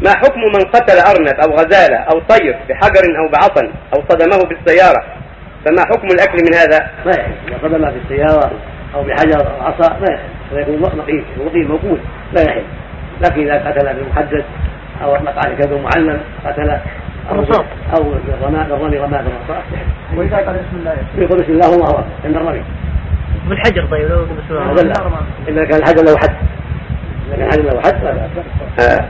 ما حكم من قتل أرنب أو غزالة أو طير بحجر أو بعصا أو صدمه بالسيارة فما حكم الأكل من هذا ما يحل اذا قدم في السياره او بحجر او عصا ما يحل هذا يكون مقيت مقيت موقوت لا يحل لكن اذا قتل بمحدد او مقعد كذب معلم قتله او رصاص. او بالرماء بالرمي رماء بالرصاص يحل واذا قال بسم الله يقول بسم الله الله اكبر عند الرمي بالحجر طيب لو يقول بسم الله هذا لا اذا كان الحجر له حد اذا كان الحجر له حد فلا بأس. آه،